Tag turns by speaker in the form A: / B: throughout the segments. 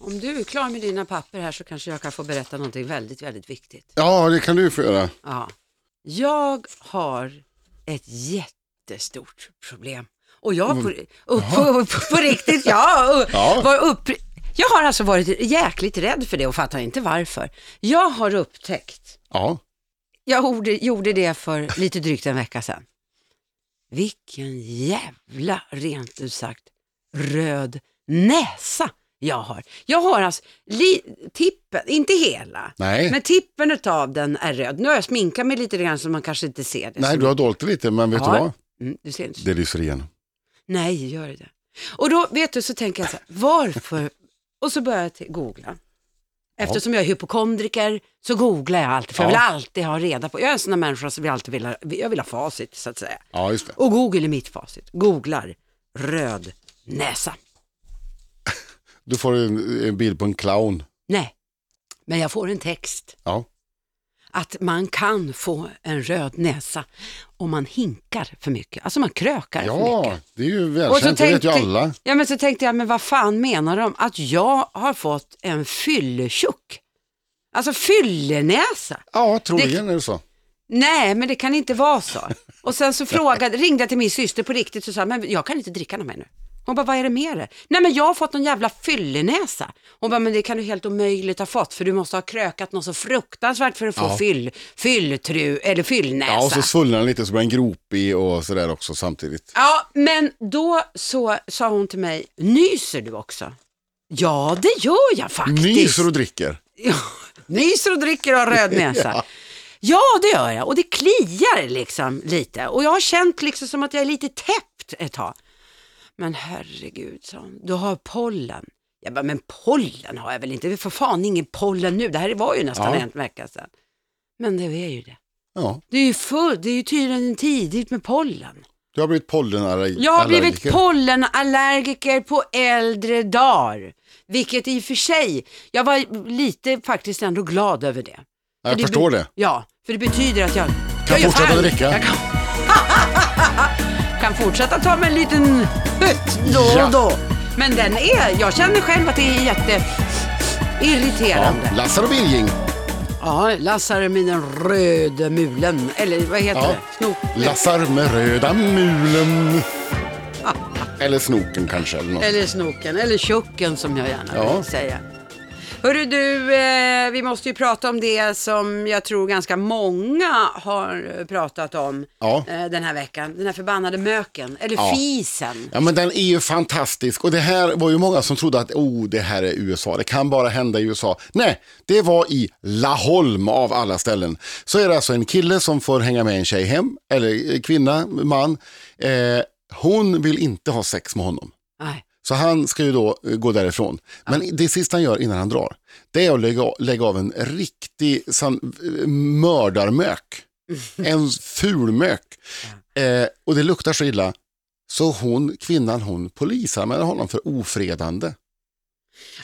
A: Om du är klar med dina papper här så kanske jag kan få berätta någonting väldigt, väldigt viktigt.
B: Ja, det kan du få göra.
A: Ja. Jag har ett jättestort problem. Och jag på, upp, på, på, på riktigt, ja, upp,
B: Ja.
A: var upp, jag har alltså varit jäkligt rädd för det och fattar inte varför. Jag har upptäckt
B: Ja.
A: Jag gjorde, gjorde det för lite drygt en vecka sedan. Vilken jävla, rent ut sagt, röd näsa jag har. Jag har alltså li, tippen, inte hela,
B: Nej.
A: men tippen av den är röd. Nu har jag sminkat mig lite grann så man kanske inte ser det.
B: Nej,
A: så,
B: du har dolt det lite, men vet
A: Ja.
B: du vad?
A: mm, du ser inte.
B: Det lyser igen.
A: Nej, gör det. Och då, vet du, så tänker jag så här, varför? Och så börjar jag t- googla. Eftersom jag är hypokondriker så googlar jag alltid, för jag
B: Ja.
A: vill alltid ha reda på. Jag är en sån där människa som vill alltid vill ha, jag vill ha facit, så att säga.
B: Ja, just det.
A: Och Google är mitt facit. Googlar röd näsa.
B: Du får en, en bild på en clown.
A: Nej, men jag får en text
B: Ja.
A: att man kan få en röd näsa om man hinkar för mycket. Alltså man krökar för mycket.
B: ja, det är ju välkänt. Det vet ju alla.
A: Ja, men så tänkte jag, men vad fan menar de? Att jag har fått en fylletjock. Alltså fyllenäsa.
B: Ja, troligen är det så.
A: Nej, men det kan inte vara så. Och sen så frågade, ringde jag till min syster på riktigt och sa, men jag kan inte dricka något mer nu. Hon bara, vad är det med det? Nej, men jag har fått någon jävla fyllenäsa. Hon bara, men det kan du helt omöjligt ha fått, för du måste ha krökat något så fruktansvärt för att få
B: Ja.
A: fyll, fylltru, eller fyllnäsa.
B: Ja, och så svullnar den lite så blir den gropig och sådär också samtidigt.
A: Ja, men då så sa hon till mig, nyser du också? Ja, det gör jag faktiskt.
B: Nyser och dricker.
A: Ja, nyser och dricker och har röd näsa. ja. det gör jag. Och det kliar liksom lite. Och jag har känt liksom som att jag är lite täppt ett tag. Men herregud, sa hon, du har pollen. Jag bara, men pollen har jag väl inte? Det är för fan ingen pollen nu. Det här var ju nästan
B: Ja.
A: en vecka sedan. Men det är ju det.
B: Ja,
A: Det är ju, full, det är ju tydligen tidigt med pollen.
B: du har blivit pollenallergiker.
A: Jag har blivit pollenallergiker på äldre dagar. Vilket i och för sig, jag var lite faktiskt ändå glad över det.
B: Ja, Jag
A: För
B: förstår
A: be-
B: det.
A: Ja, för det betyder att jag...
B: Kan
A: jag gör
B: fortsätta
A: fan-
B: dricka.
A: Jag kan, kan fortsätta ta mig en liten hutt då och
B: Ja.
A: då. Men den är, jag känner själv att det är jätte
B: Ja,
A: irriterande.
B: Lassar och Birging.
A: Ja, lassar med den röda mulen, eller vad heter
B: Ja.
A: det? Snop.
B: Lassar med röda mulen. Eller snoken kanske. Eller något.
A: Eller snoken, eller tjocken som jag gärna
B: Ja.
A: vill säga. Hörru du, eh, vi måste ju prata om det som jag tror ganska många har eh, pratat om
B: Ja.
A: eh, den här veckan. Den här förbannade möken, eller
B: Ja.
A: fisen.
B: Ja men den är ju fantastisk och det här var ju många som trodde att oh, det här är USA, det kan bara hända i USA. Nej, det var i Laholm av alla ställen. Så är det alltså en kille som får hänga med en tjej hem, eller eh, kvinna, man. Eh, hon vill inte ha sex med honom.
A: Nej.
B: Så han ska ju då eh, gå därifrån. Men det sista han gör innan han drar, det är att lägga, lägga av en riktig san, eh, mördarmök. En ful mök. Eh, och det luktar så illa, så hon, kvinnan hon polisanmäler honom för ofredande.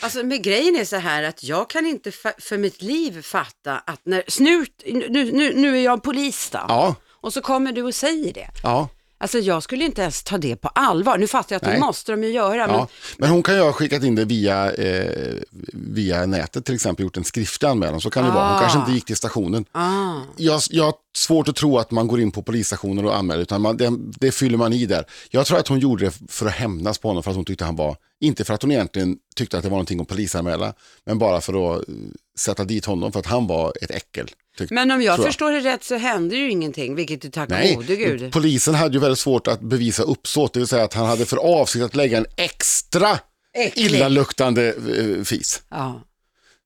A: Alltså men grejen är så här att jag kan inte fa- för mitt liv fatta att när snut, nu, nu, nu är jag polis då.
B: Ja,
A: Och så kommer du och säger det.
B: ja.
A: Alltså jag skulle inte ens ta det på allvar. Nu fattar jag att
B: Nej.
A: det måste de ju göra. Men,
B: Ja, men hon kan ju ha skickat in det via, eh, via nätet till exempel, gjort en skriftlig anmälan. Så kan det vara. Hon
A: Ah.
B: kanske inte gick till stationen.
A: ah.
B: Jag, jag har svårt att tro att man går in på polisstationer och anmäler, utan man, det, det fyller man i där. Jag tror att hon gjorde det för att hämnas på honom, för att hon tyckte han var, inte för att hon egentligen tyckte att det var någonting att polisanmäla, men bara för att eh, sätta dit honom, för att han var ett äckel. tyckte-
A: Men om jag
B: tror jag.
A: förstår det rätt så hände ju ingenting, vilket är tack
B: Nej,
A: gode gud.
B: polisen hade ju väldigt svårt att bevisa uppsåt, det vill säga att han hade för avsikt att lägga en extra
A: Äcklig.
B: illaluktande eh, fis.
A: Ja.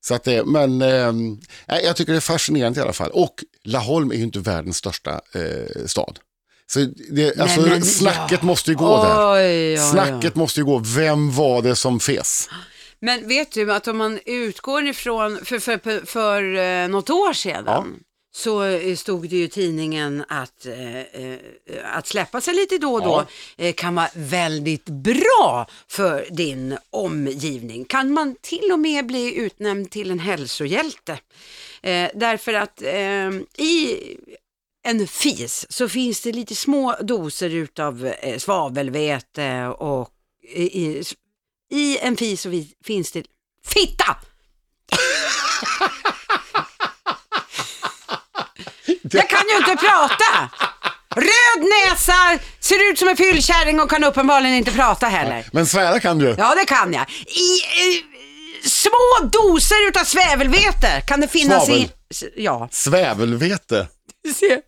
B: Så att det, men eh, nej, jag tycker det är fascinerande i alla fall. Och Laholm är ju inte världens största eh, stad. Så det, alltså,
A: men,
B: snacket
A: ja.
B: måste ju gå där.
A: Oj, oj, oj.
B: snacket måste ju gå, vem var det som fes?
A: Men vet du att om man utgår ifrån, för, för, för, för eh, något år sedan,
B: Ja.
A: så eh, stod det ju i tidningen att, eh, eh, att släppa sig lite då och då eh, kan vara väldigt bra för din omgivning. Kan man till och med bli utnämnd till en hälsohjälte? Eh, därför att eh, i en fis så finns det lite små doser utav eh, svavelväte och i, i, i en fis så vi- finns det Fitta! Jag kan ju inte prata! Röd näsa, ser ut som en fyllkärring och kan uppenbarligen inte prata heller.
B: Men svära kan du.
A: Ja, det kan jag. I eh, små doser utav svävelvete kan det finnas
B: Svavel.
A: i... s- Ja,
B: Svävelvete.
A: du ser.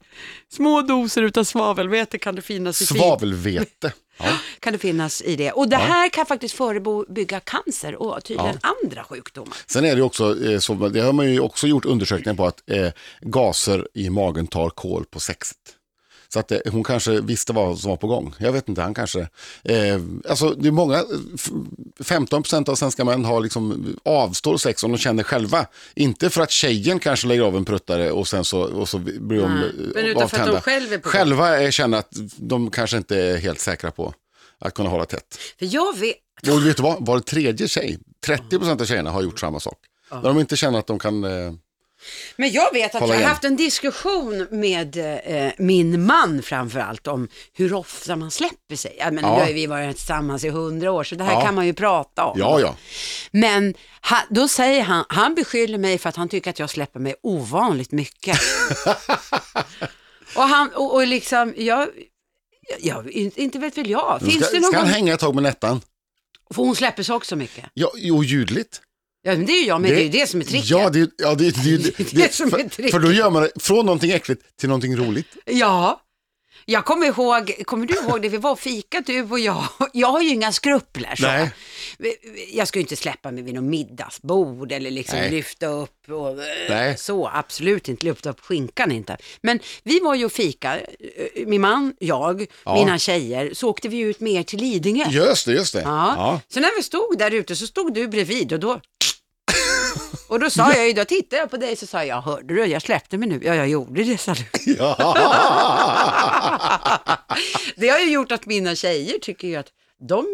A: Små doser utav svavelvete kan det finnas i fint.
B: Svavelvete. Ja.
A: Kan det finnas i det. Och det här kan faktiskt förebygga cancer och tydligen andra sjukdomar.
B: Sen är det ju också, eh, så, det har man ju också gjort undersökningar på, att eh, gaser i magen tar kål på sexet. Så att eh, hon kanske visste vad som var på gång. Jag vet inte, han kanske... Eh, alltså det är många, eh, f- 15% av svenska män har liksom, avstår sex om de känner själva. Inte för att tjejen kanske lägger av en pruttare och sen så, och så blir de
A: Nej,
B: eh,
A: men utan för att de
B: avtända.
A: själv är på gång.
B: Själva eh, känner att de kanske inte är helt säkra på att kunna hålla tätt.
A: För jag vet...
B: Och vet du vad, var tredje tjej, 30% av tjejerna har gjort samma sak. När de inte känner att de kan, eh,
A: Men jag vet att
B: Kolla
A: jag har
B: igen.
A: haft en diskussion med eh, min man framförallt om hur ofta man släpper sig. Jag menar,
B: Ja.
A: Nu har ju vi varit tillsammans i hundra år så det här
B: Ja.
A: kan man ju prata om.
B: ja ja,
A: Men ha, då säger han, han beskyller mig för att han tycker att jag släpper mig ovanligt mycket. och han, och, och liksom, jag, jag, inte inte vet väl jag. Finns
B: ska,
A: det någon
B: ska han
A: gång,
B: hänga ett tag med Nettan?
A: för hon släpper sig också mycket.
B: Ja, jo, ljudligt.
A: Ja, men det är ju jag, men det, är ju det som är tricket.
B: Ja, det, ja, det, det, det,
A: är det som är
B: för,
A: tricket.
B: för då gör man det från någonting äckligt till någonting roligt.
A: Ja, jag kommer ihåg, kommer du ihåg det vi var och fika du och jag? Jag har ju inga skrupler. Så.
B: Nej.
A: Jag ska ju inte släppa mig vid något middagsbord eller liksom
B: Nej.
A: lyfta upp och eh,
B: Nej.
A: så, absolut inte, lyfta upp skinkan inte. Men vi var ju och fika, eh, min man, jag,
B: Ja.
A: mina tjejer, så åkte vi ut mer till Lidingö.
B: Just det, just det.
A: Ja.
B: Ja.
A: Så när vi stod där ute så stod du bredvid och då och då sa jag ju, då tittade jag på dig så sa jag, hörde du, jag släppte mig nu. Ja, jag gjorde det, sa du. Det har ju gjort att mina tjejer tycker ju att de,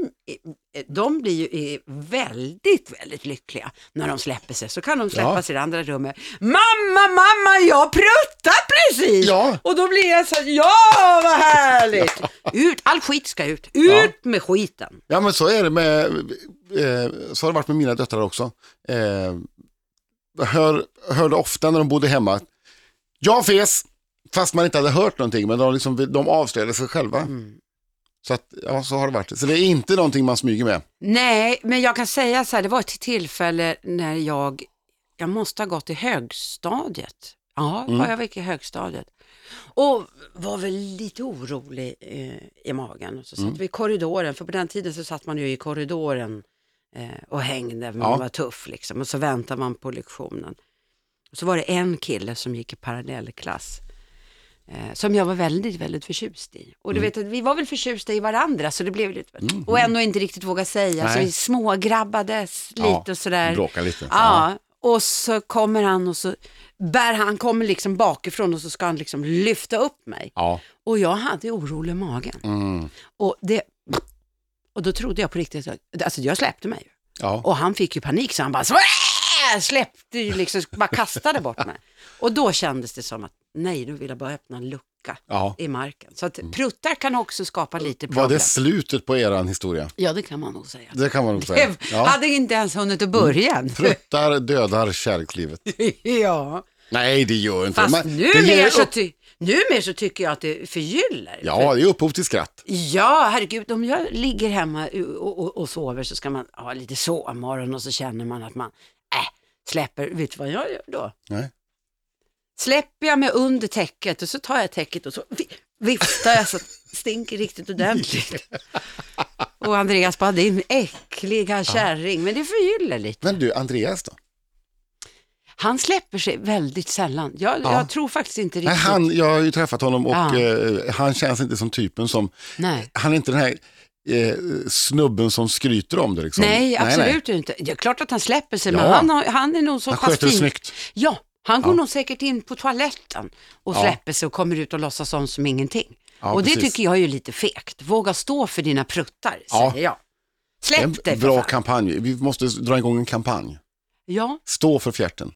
A: de blir ju eh, väldigt, väldigt lyckliga när de släpper sig. Så kan de släppa
B: Ja.
A: sig i det andra rummet. Mamma, mamma, jag pruttar precis!
B: Ja.
A: Och då blir jag så här, ja vad härligt! Ut, all skit ska ut, ut
B: Ja.
A: med skiten.
B: ja, men så är det med, eh, så har det varit med mina döttrar också. Eh, hör, hörde ofta när de bodde hemma, jag fes, fast man inte hade hört någonting, men de, liksom, de avslöjade sig själva.
A: Mm.
B: Så, att, ja, så har det varit. Så det är inte någonting man smyger med.
A: Nej, men jag kan säga så här, det var ett tillfälle när jag, jag måste ha gått i högstadiet. Ja,
B: Mm.
A: var jag gick i högstadiet. Och var väl lite orolig eh, i magen. Och så satt
B: Mm.
A: vi i korridoren, för på den tiden så satt man ju i korridoren eh, och hängde, man
B: Ja.
A: var tuff liksom. Och så väntade man på lektionen. Och så var det en kille som gick i parallellklass. Eh, som jag var väldigt, väldigt förtjust i. Och du
B: Mm.
A: vet att vi var väl förtjusta i varandra så det blev lite, och ändå inte riktigt våga säga, så
B: Nej.
A: vi smågrabbades lite
B: Ja,
A: och sådär.
B: bråka lite.
A: Ja, och så kommer han och så bär han, han kommer liksom bakifrån och så ska han liksom lyfta upp mig.
B: Ja.
A: Och jag hade orolig magen.
B: Mm.
A: Och, det, och då trodde jag på riktigt, att- alltså jag släppte mig ju.
B: Ja.
A: Och han fick ju panik så han bara "Svä!" släppte ju liksom, bara kastade bort mig. Och då kändes det som att nej, nu vill jag bara öppna en lucka
B: ja.
A: i marken. Så att pruttar kan också skapa lite problem.
B: Mm. Var det slutet på eran historia?
A: Ja, det kan man nog säga.
B: Det kan man nog säga.
A: Jag
B: Ja. Mm.
A: hade inte ens hunnit att börja än.
B: Pruttar dödar kärlekslivet.
A: ja,
B: Nej, det gör inte det.
A: fast
B: Man- det. ger
A: numer så,
B: upp-
A: ty- numer så tycker jag att det förgyller.
B: Ja, det är upphov till skratt.
A: Ja, herregud, om jag ligger hemma och, och, och sover så ska man ha lite sovmorgon och så känner man att man, äh, släpper, vet du vad jag gör då?
B: Nej.
A: Släpper jag mig under täcket och så tar jag täcket och så vi- viftar jag så att det stinker riktigt ordentligt. Och Andreas bara, din äckliga kärring, men det förgyller lite.
B: Men du, Andreas då?
A: Han släpper sig väldigt sällan. Jag,
B: Ja.
A: jag tror faktiskt inte riktigt.
B: Nej, han, jag har ju träffat honom och
A: Ja.
B: eh, han känns inte som typen som,
A: nej.
B: han är inte den här eh, snubben som skryter om det. Liksom.
A: nej, absolut
B: nej.
A: inte. Det är klart att han släpper sig,
B: Ja.
A: men han, har, han är nog så
B: Han
A: pass
B: sköter det
A: fin.
B: snyggt.
A: Ja, han går
B: Ja.
A: nog säkert in på toaletten och
B: Ja.
A: släpper sig och kommer ut och låtsas om som ingenting.
B: Ja,
A: och det
B: precis.
A: tycker jag är ju lite fegt. Våga stå för dina pruttar,
B: Ja.
A: säger jag.
B: Det är
A: Släpp dig
B: En
A: för
B: bra
A: fan.
B: kampanj. Vi måste dra igång en kampanj.
A: Ja,
B: Stå för fjärten.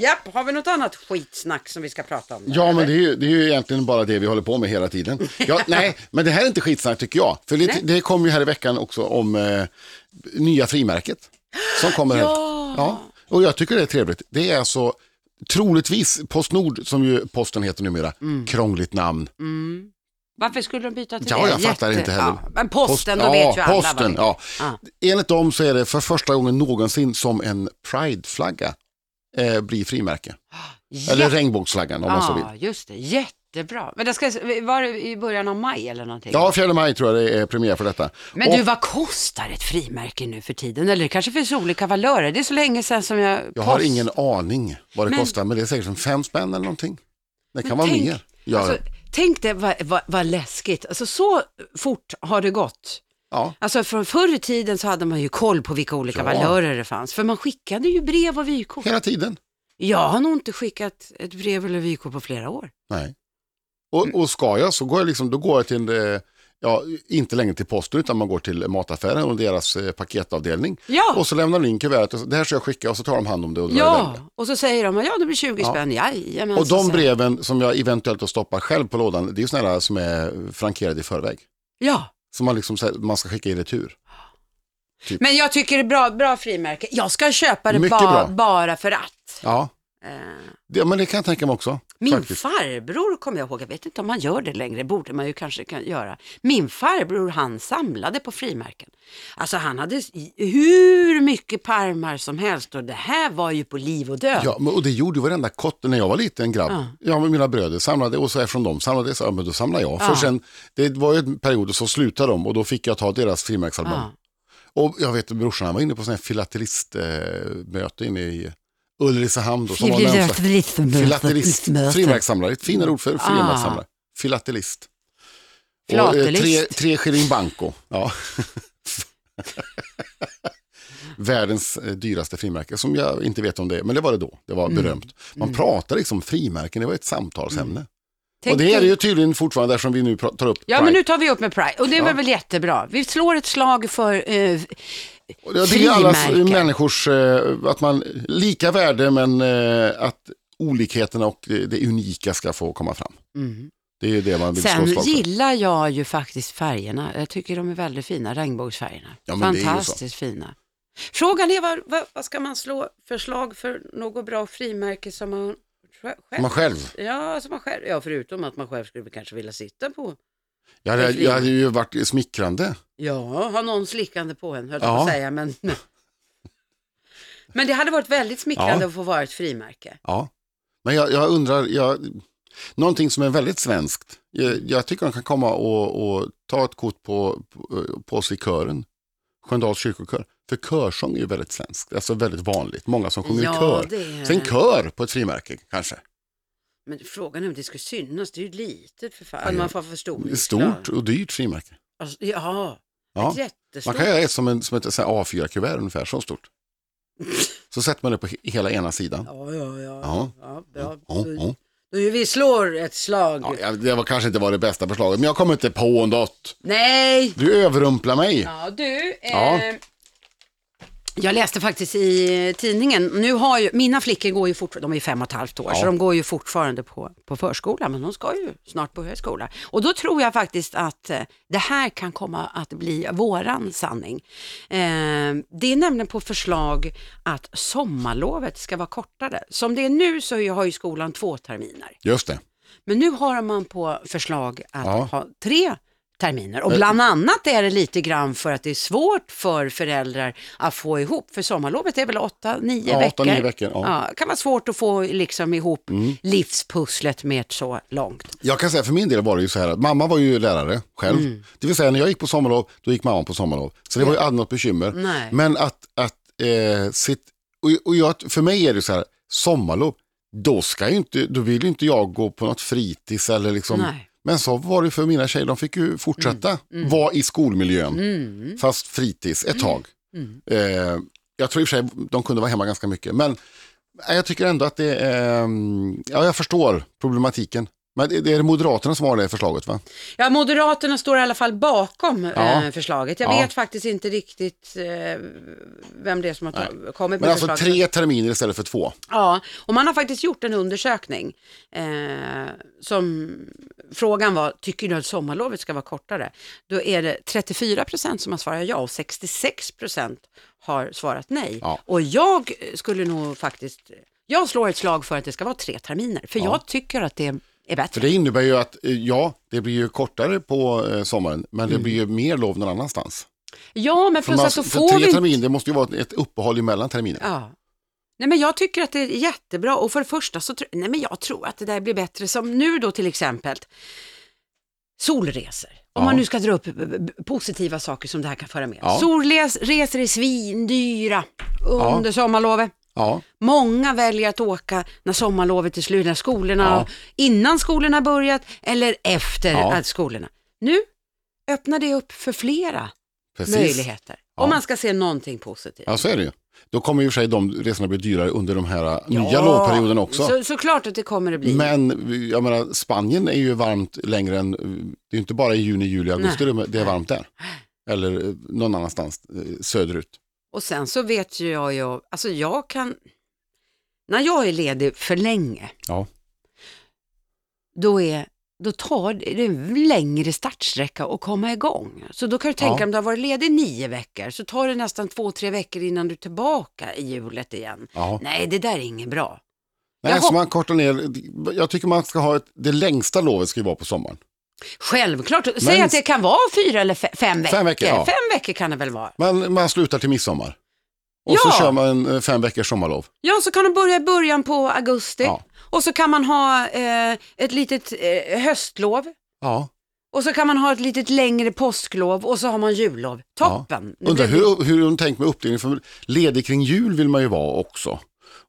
A: Japp, har vi något annat skitsnack som vi ska prata om?
B: Ja, men det är, ju, det är ju egentligen bara det vi håller på med hela tiden. Ja, nej, men det här är inte skitsnack tycker jag. För det,
A: Nej.
B: det kom ju här i veckan också om eh, nya frimärket. Som kommer här.
A: Ja.
B: ja. Och jag tycker det är trevligt. Det är alltså troligtvis Postnord, som ju posten heter numera,
A: Mm.
B: krångligt namn.
A: Varför skulle de byta till
B: Ja,
A: det?
B: jag fattar inte heller.
A: Ja, men posten,
B: Post-
A: då vet ju alla. vad
B: posten,
A: det är. Ah.
B: ja.
A: Ja.
B: Enligt dem så är det för första gången någonsin som en prideflagga eh, blir frimärke. Eller regnbågsflaggan om man så vill.
A: Ja, just det. Jättebra. Men det ska, var det i början av maj eller någonting?
B: Ja, 4 maj tror jag det är premiär för detta.
A: Men
B: Och-
A: du, vad kostar ett frimärke nu för tiden? Eller det kanske finns olika valörer? Det är så länge sedan som jag...
B: Jag har
A: post-
B: ingen aning vad det
A: Men-
B: kostar, men det är säkert en fem spänn eller någonting. Det kan
A: Men
B: vara
A: tänk-
B: mer. Ja,
A: Alltså, tänk dig vad, vad, vad läskigt. Alltså så fort har det gått.
B: ja.
A: Alltså från förr i tiden så hade man ju koll på vilka olika
B: Ja.
A: valörer det fanns. För man skickade ju brev och vykort.
B: Hela tiden.
A: Jag har nog inte skickat ett brev eller vykort på flera år.
B: Nej. Och, och ska jag så går jag, liksom, då går jag till, eh, ja, inte längre till posten utan man går till mataffären och deras eh, paketavdelning.
A: Ja,
B: Och så lämnar de in kuvertet, och så, det här ska jag skicka och så tar de hand om det och drar iväg
A: ja.
B: det.
A: och så säger de ja det blir 20
B: Ja.
A: spänn. Jajamän,
B: Och
A: så
B: de
A: säger-
B: breven som jag eventuellt då stoppar själv på lådan, det är ju sådana där som är frankerade i förväg.
A: Ja,
B: Som man, liksom, säger- man ska skicka i retur.
A: men jag tycker det är bra, bra frimärke. Jag ska köpa det
B: Mycket
A: ba,
B: bra.
A: bara för att.
B: Ja,
A: Eh.
B: det, men det kan jag tänka mig också.
A: Min
B: faktiskt.
A: farbror kommer jag ihåg, jag vet inte om han gör det längre, borde man ju kanske kan göra. Min farbror han samlade på frimärken. Alltså han hade s- hur mycket parmar som helst och det här var ju på liv och död.
B: Ja, men, och det gjorde ju varenda kotte när jag var liten grabb.
A: Ja.
B: Ja. men mina bröder samlade och så eftersom de samlade så ja, men då samlade jag.
A: Ja.
B: För sen, det var ju en period så slutade de och då fick jag ta deras frimärksalbum.
A: Ja.
B: Och jag vet brorsan han var inne på sån här filatelistmöte inne i Ulricehamn. då, som var närmsta- Filatelist, frimärkssamlare, ett
A: Mm.
B: finare ord för frimärkssamlare. Filatelist. Och, eh,
A: Ah. Filatelist.
B: tre, tre skilling banco. Ja. Världens eh, dyraste frimärke, som jag inte vet om det är, men det var det då. Det
A: Mm.
B: var berömt. Man pratade liksom frimärken, det var ett samtalsämne.
A: Tänk
B: och det är det
A: dig-
B: ju tydligen fortfarande där som vi nu pra- tar upp.
A: Ja
B: Pride.
A: men nu tar vi upp med Pride och det är väl jättebra. Vi slår ett slag för eh,
B: Och det är ju alla
A: frimärken.
B: människors, eh, att man, lika värde men eh, att olikheterna och eh, det unika ska få komma fram. Det är ju det man vill slå
A: Sen
B: slag för.
A: gillar jag ju faktiskt färgerna. Jag tycker de är väldigt fina, regnbågsfärgerna.
B: Ja, men det är ju så.
A: Fantastiskt fina. Frågan är vad, vad, vad ska man slå förslag för något bra frimärke som man sj- själv...
B: Man själv.
A: Ja, som man själv, ja, förutom att man själv skulle kanske vilja sitta på.
B: Jag hade,
A: Verkligen.
B: jag hade ju varit smickrande.
A: Ja, ha någon slickande på en, höll jag
B: Ja.
A: på att säga. Men, men det hade varit väldigt smickrande
B: Ja.
A: att få vara ett frimärke.
B: Ja. Men jag, jag undrar, jag, någonting som är väldigt svenskt. Jag, jag tycker de kan komma och, och ta ett kort på, på, på sig i kören. Sköndals kyrkokör. För körsång är ju väldigt svenskt, alltså väldigt vanligt. Många som sjunger i
A: Ja,
B: kör.
A: det är
B: Så en
A: det.
B: kör på ett frimärke kanske.
A: Men frågan är om det skulle synas, det är ju litet för fan.
B: Ja, ja.
A: Man får för stor.
B: Stort och dyrt frimärke.
A: Alltså, ja,
B: Ja. Man
A: jättestort.
B: kan göra ett som, en, som ett så här A4-kuvert ungefär, så stort. Så sätter man det på he- hela ena sidan.
A: Ja, ja, ja. ja.
B: Ja.
A: bra.
B: Ja,
A: Då,
B: ja.
A: då vi slår ett slag.
B: Ja, jag- det var kanske inte var det bästa förslaget, men jag kommer inte på något.
A: Nej!
B: Du överrumplar mig.
A: Ja, du. Eh,
B: Ja.
A: Jag läste faktiskt i tidningen, nu har ju, mina flickor går ju fortfarande, de är fem och ett halvt år,
B: Ja.
A: så de går ju fortfarande på, på förskola, men de ska ju snart på högskola. Och då tror jag faktiskt att eh, det här kan komma att bli våran sanning. Eh, det är nämligen på förslag att sommarlovet ska vara kortare. Som det är nu så har ju skolan två terminer.
B: Just det.
A: Men nu har man på förslag att
B: Ja. Eh.
A: ha tre terminer och bland annat är det lite grann för att det är svårt för föräldrar att få ihop, för sommarlovet är väl 8-9
B: Ja,
A: veckor.
B: åtta, nio veckor, ja. Mm.
A: Ja, kan vara svårt att få liksom ihop livspusslet med ett så långt.
B: Jag kan säga för min del var det ju så här att mamma var ju lärare själv.
A: Mm.
B: Det vill säga när jag gick på sommarlov, då gick mamma på sommarlov. Så det var ju aldrig något bekymmer.
A: Nej.
B: Men att, att eh, sitt, och, och jag, för mig är det ju så här, sommarlov, då, ska ju inte, då vill ju inte jag gå på något fritids eller liksom.
A: Nej. Mm.
B: Men så var det för mina tjejer, de fick ju fortsätta vara i skolmiljön, fast fritids
A: Mm.
B: ett tag. Eh, jag tror i och för sig de kunde vara hemma ganska eh, mycket, men Nej, Jag tycker ändå att det är, ehm, ja jag förstår problematiken. Men det det är Moderaterna som har det förslaget va?
A: Ja, Moderaterna står i alla fall bakom
B: Ja.
A: eh, förslaget. Jag
B: Ja.
A: vet faktiskt inte riktigt eh, vem det är som har ta- kommit
B: Men
A: med
B: alltså
A: förslaget.
B: tre terminer istället för två.
A: Ja, och man har faktiskt gjort en undersökning eh, som frågan var, tycker du att sommarlovet ska vara kortare? Då är det 34 procent som har svarat ja och 66 procent har svarat nej.
B: Ja.
A: Och jag skulle nog faktiskt, jag slår ett slag för att det ska vara tre terminer, för jag tycker att det är
B: För
A: bättre.
B: det innebär ju att, eh, ja, det blir ju kortare på eh, sommaren, men det blir ju mer lov någon annanstans.
A: Ja, men Mm.
B: För
A: plus
B: man-
A: att så
B: för
A: får
B: tre
A: vi inte
B: terminer, det måste ju vara ett uppehåll emellan terminer.
A: Ja. Nej, men jag tycker att det är jättebra och för det första så tr- Nej, men jag tror att det där blir bättre som nu då till exempel solresor. Om
B: Ja.
A: man nu ska dra upp b- b- positiva saker som det här kan föra med.
B: Ja.
A: Solresor är svindyra under sommarlovet.
B: Ja,
A: Många väljer att åka när sommarlovet är slut, när skolorna,
B: Ja.
A: innan skolorna har börjat eller efter
B: Ja.
A: att skolorna. Nu öppnar det upp för flera
B: precis.
A: möjligheter.
B: Ja.
A: Om man ska se någonting positivt.
B: Ja, så är det ju. Då kommer ju i och för sig de resorna bli dyrare under de här eh, nya
A: Ja,
B: lovperioden också.
A: Så, såklart att det kommer att bli.
B: Men jag menar, Spanien är ju varmt längre än, eh, det är ju inte bara i juni, juli, augusti det- det är varmt där. Eller eh, någon annanstans eh, söderut.
A: Och sen så vet ju jag, jag, alltså jag kan, när jag är ledig för länge,
B: Ja.
A: då, är, då tar det, det är en längre startsträcka att komma igång. Så då kan du tänka
B: Ja.
A: om du har varit ledig nio veckor, så tar det nästan två, tre veckor innan du är tillbaka i hjulet igen.
B: Ja.
A: Nej, det där är inget bra.
B: Nej,
A: Jag
B: så
A: hop-
B: man kortar ner, jag tycker man ska ha ett, det längsta lovet ska ju vara på sommaren.
A: Självklart, säg att det kan vara fyra eller fe- fem veckor.
B: Fem veckor, ja.
A: Fem veckor kan det väl vara.
B: Man, man slutar till midsommar. Och
A: Ja.
B: så kör man eh, fem veckors sommarlov.
A: Ja, så kan de börja i början på augusti.
B: Ja.
A: Och så kan man ha eh, ett litet eh, höstlov.
B: Ja.
A: Och så kan man ha ett litet längre påsklov och så har man jullov. Toppen! Nu
B: Undrar
A: blev det-
B: hur, hur de tänkt med uppdelningen, för ledig kring jul vill man ju vara också.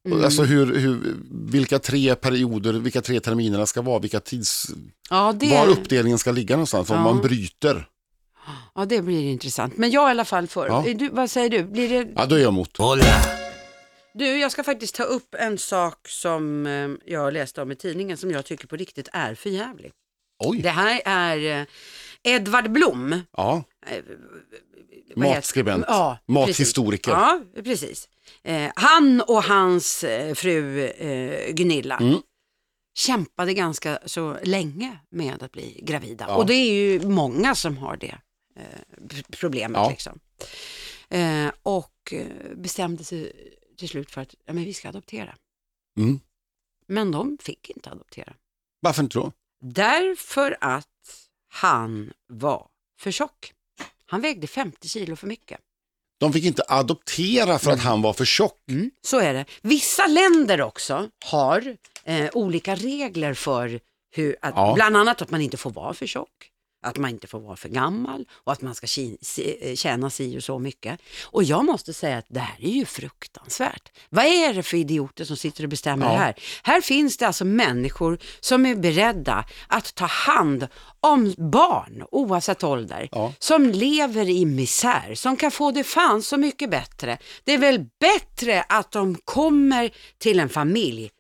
B: Och
A: Mm.
B: Alltså hur, hur, vilka tre perioder, vilka tre terminerna ska vara, vilka tids,
A: Ja det,
B: var uppdelningen ska ligga någonstans,
A: Mm. Ja.
B: om man bryter.
A: ja, det blir intressant. Men jag är i alla fall för.
B: Ja.
A: Är Du, vad säger du? Blir det...
B: Ja, då är jag emot.
A: Du, jag ska faktiskt ta upp en sak som eh, jag läste om i tidningen som jag tycker på riktigt är för jävlig.
B: Oj,
A: Det här är eh, Edvard Blom. eh,
B: ja.
A: vad heter-
B: Matskribent.
A: Ja, precis.
B: Mathistoriker.
A: Ja, precis. Eh, han och hans eh, fru eh, Gunilla
B: Mm.
A: kämpade ganska så länge med att bli gravida.
B: Ja.
A: Och det är ju många som har det eh, p- problemet.
B: Ja.
A: Liksom. Eh, och eh, bestämde sig till slut för att ja, men vi ska adoptera.
B: Mm.
A: Men de fick inte adoptera.
B: Varför inte då?
A: Därför att han var för tjock. Han vägde 50 kilo för mycket.
B: De fick inte adoptera för att han var för tjock.
A: Mm, så är det. Vissa länder också har eh, olika regler för hur, att,
B: Ja.
A: bland annat att man inte får vara för tjock, att man inte får vara för gammal och att man ska ki- se- eh, tjäna si och så mycket. Och jag måste säga att det här är ju fruktansvärt. Vad är det för idioter som sitter och bestämmer
B: Ja.
A: det här? Här finns det alltså människor som är beredda att ta hand om barn oavsett ålder
B: Ja.
A: som lever i misär, som kan få det fan så mycket bättre. Det är väl bättre att de kommer till en familj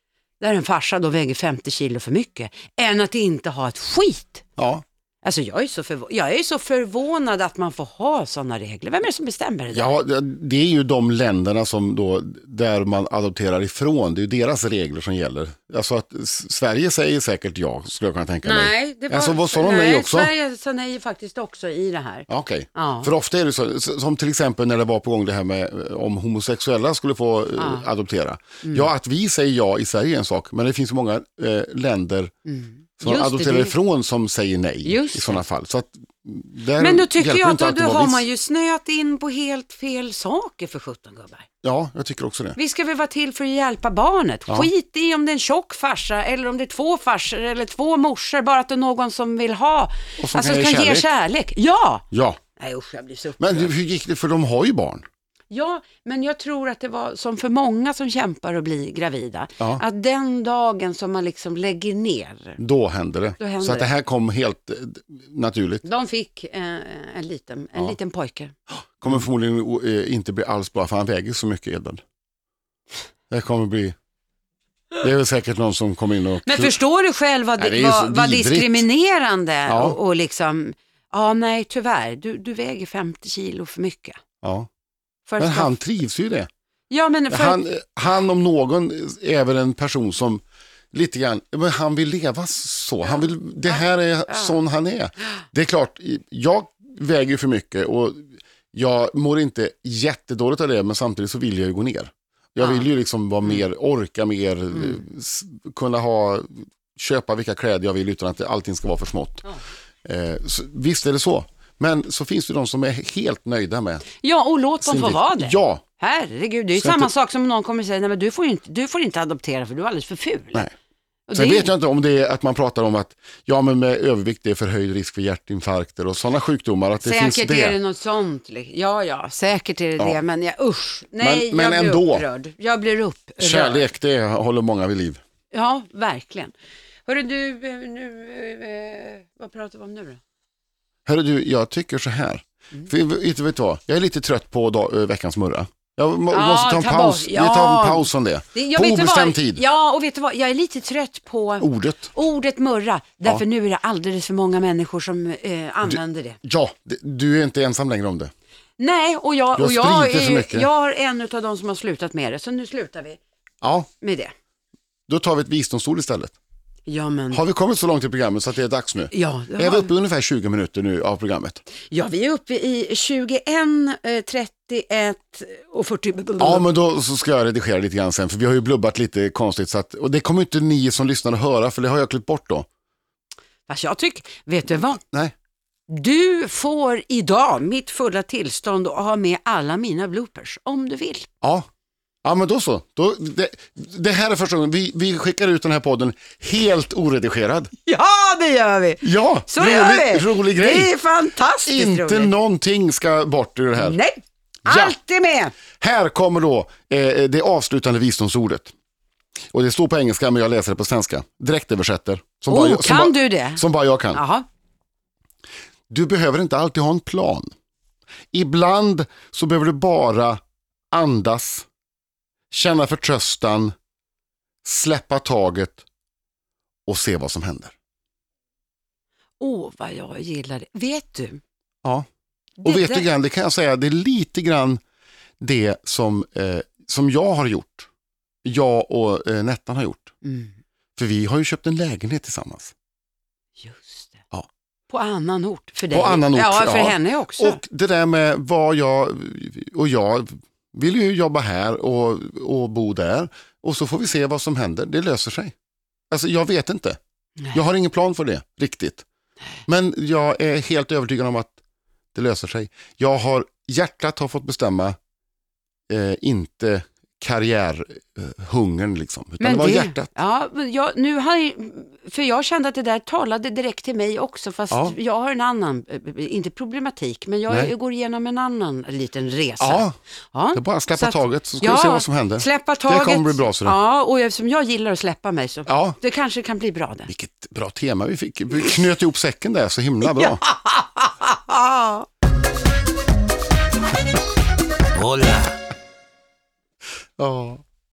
A: där en farsa då väger 50 kilo för mycket, än att inte ha ett skit.
B: Ja,
A: Alltså jag är så, förvå- jag är så förvånad att man får ha sådana regler. Vem är det som bestämmer det där?
B: ja, det- det är ju de länderna som då, där man adopterar ifrån, det är ju deras regler som gäller. Alltså att S- Sverige säger säkert ja, skulle jag kunna tänka mig.
A: Nej, det var,
B: Alltså, vad sa de
A: nej
B: nej också?
A: Sverige sa nej faktiskt också i det här.
B: Ja, Okej,
A: Ja.
B: för ofta är det så, s- som till exempel när det var på gång det här med eh, om homosexuella skulle få eh, adoptera.
A: Mm.
B: Ja, att vi säger ja i Sverige är en sak, men det finns ju många eh, länder som
A: Mm. Just det,
B: adopterar
A: det-
B: ifrån som säger nej
A: Just
B: i
A: det.
B: sådana fall. Så att, där
A: Men då tycker
B: hjälper
A: jag
B: inte
A: att då
B: det var
A: har
B: viss-
A: man ju snöat in på helt fel saker för 17 gubbar.
B: Ja, jag tycker också det.
A: Vi ska väl vara till för att hjälpa barnet.
B: Ja.
A: Skit i om det är en tjock farsa eller om det är två farsor eller två morsor, bara att det är någon som vill ha,
B: Och som
A: alltså
B: kan
A: kan,
B: ge
A: ge
B: kärlek.
A: kärlek. Ja!
B: Ja,
A: Nej usch, jag blir så upprörd.
B: men hur hur gick det? För de har ju barn.
A: Ja, men jag tror att det var som för många som kämpar att bli gravida,
B: Ja. Mm.
A: att den dagen som man liksom lägger ner,
B: Då hände det.
A: Då hände
B: så att det
A: det.
B: här kom helt eh, naturligt.
A: de fick eh, en, liten, en
B: Ja.
A: liten pojke.
B: Kommer förmodligen o- eh, inte bli alls bra, för han väger så mycket, Edvard. Det kommer bli... Det är väl säkert någon som kom in och...
A: Men förstår du själv vad,
B: Nej, det är ju så
A: vad, vad
B: vidrigt.
A: diskriminerande
B: Ja.
A: och, och liksom, ja nej tyvärr, du, du väger 50 kilo för mycket.
B: Ja.
A: För
B: Men
A: att-
B: han trivs ju i det.
A: ja, men för,
B: Han, han om någon är väl en person som lite grann, men han vill leva så. Han vill, det här är sån han är. Det är klart, jag väger ju för mycket och jag mår inte jättedåligt av det, men samtidigt så vill jag ju gå ner. Jag vill ju liksom
A: Mm.
B: vara mer, orka mer, s- kunna ha, köpa vilka kläder jag vill utan att det- allting ska vara för smått. Eh, så, visst är det så. Men så finns det de som är helt nöjda med
A: ja, och låt dem
B: sin
A: få
B: vikt.
A: vara det.
B: Ja,
A: Herregud, det är ju
B: Så
A: samma
B: inte-
A: sak som någon kommer säga, nej men du får, ju inte, du får inte adoptera för du är alldeles för ful.
B: nej.
A: Och
B: Sen
A: det-
B: vet jag inte om det är att man pratar om att ja, men med övervikt det är förhöjd risk för hjärtinfarkter och sådana sjukdomar. Att det finns
A: Säkert
B: det.
A: är det något sånt. li- Ja, ja, säkert är det
B: Ja.
A: det. Men jag, usch, nej,
B: men
A: jag blir
B: ändå.
A: upprörd. Jag blir upprörd.
B: Kärlek, det håller många vid liv.
A: Ja, verkligen. Hörru du, eh, nu, eh, vad pratar vi om nu då?
B: Hörru du, jag tycker så här.
A: Mm.
B: För, inte vet du vad, jag är lite trött på dag, ö, veckans murra. Jag må,
A: Ja,
B: måste ta en
A: ta
B: paus.
A: bort. Ja.
B: Vi tar en paus om det.
A: Det- jag
B: på
A: vet inte
B: obestämd
A: vad,
B: tid.
A: Ja, och vet du vad, jag är lite trött på
B: Ordet.
A: ordet murra, därför nu är det alldeles för många människor som eh, använder det.
B: Ja, det, du är inte ensam längre om det.
A: Nej, och jag,
B: Du har
A: och jag,
B: stridit så
A: är,
B: mycket.
A: jag har en av de som har slutat med det, så nu slutar vi
B: Ja,
A: med det.
B: då tar vi ett visdomsord istället.
A: Ja, men,
B: Har vi kommit så långt i programmet så att det är dags nu?
A: ja, det
B: Är vi
A: har-
B: uppe i ungefär 20 minuter nu av programmet?
A: ja, vi är uppe i 21, eh, 31 och 40.
B: Ja, men då så ska jag redigera lite grann sen, för vi har ju blubbat lite konstigt. Så att, och det kommer inte ni som lyssnar att höra, för det har jag klippt bort då.
A: Fast jag tycker, vet du vad?
B: Nej.
A: Du får idag mitt fulla tillstånd att ha med alla mina bloopers om du vill.
B: Ja, ja men då så. Då, det, det här är första gången vi, vi skickar ut den här podden helt oredigerad.
A: Ja, det gör vi!
B: Ja,
A: Så
B: rolig,
A: gör vi!
B: rolig
A: Det
B: grej.
A: är fantastiskt
B: Inte
A: roligt.
B: någonting ska bort ur det här.
A: Nej,
B: Ja.
A: allt är med!
B: Här kommer då eh, det avslutande visdomsordet. Och det står på engelska, men jag läser det på svenska. Direktöversätter. Som
A: Oh,
B: jag- som
A: kan
B: bara,
A: du det?
B: Som bara jag kan.
A: Jaha.
B: Du behöver inte alltid ha en plan. Ibland så behöver du bara andas, känna förtröstan, släppa taget och se vad som händer.
A: Åh, vad jag gillar det. Vet du?
B: Ja.
A: Det
B: Och vet
A: där-
B: du grann, det kan jag säga, det är lite grann det som, eh, som jag har gjort. Jag och eh, Nettan har gjort.
A: Mm,
B: För vi har ju köpt en lägenhet tillsammans.
A: just det.
B: Ja.
A: På annan ort för dig.
B: På annan ort,
A: Ja, för
B: ja.
A: henne också.
B: Och det där med vad jag och jag vill ju jobba här och, och bo där och så får vi se vad som händer. Det löser sig. Alltså jag vet inte.
A: Nej.
B: Jag har ingen plan för det riktigt. Men jag är helt övertygad om att det löser sig. Jag har, hjärtat har fått bestämma, eh, inte karriärhungern liksom. Utan det var hjärtat.
A: Ja, men jag, nu har, jag- för jag kände att det där talade direkt till mig också, fast
B: Ja.
A: jag har en annan, eh, inte problematik, men jag
B: Nej.
A: går igenom en annan liten resa.
B: Ja,
A: Ja.
B: det är bara att
A: Så
B: släppa
A: att-
B: taget så ska vi se vad som händer.
A: Släppa
B: kommer
A: taget.
B: bli bra, så det.
A: Ja, och eftersom jag gillar att släppa mig så
B: Ja.
A: det kanske kan bli bra det.
B: Vilket bra tema vi fick. Vi knöt ihop säcken där så himla bra.
C: Hola.
B: Ja.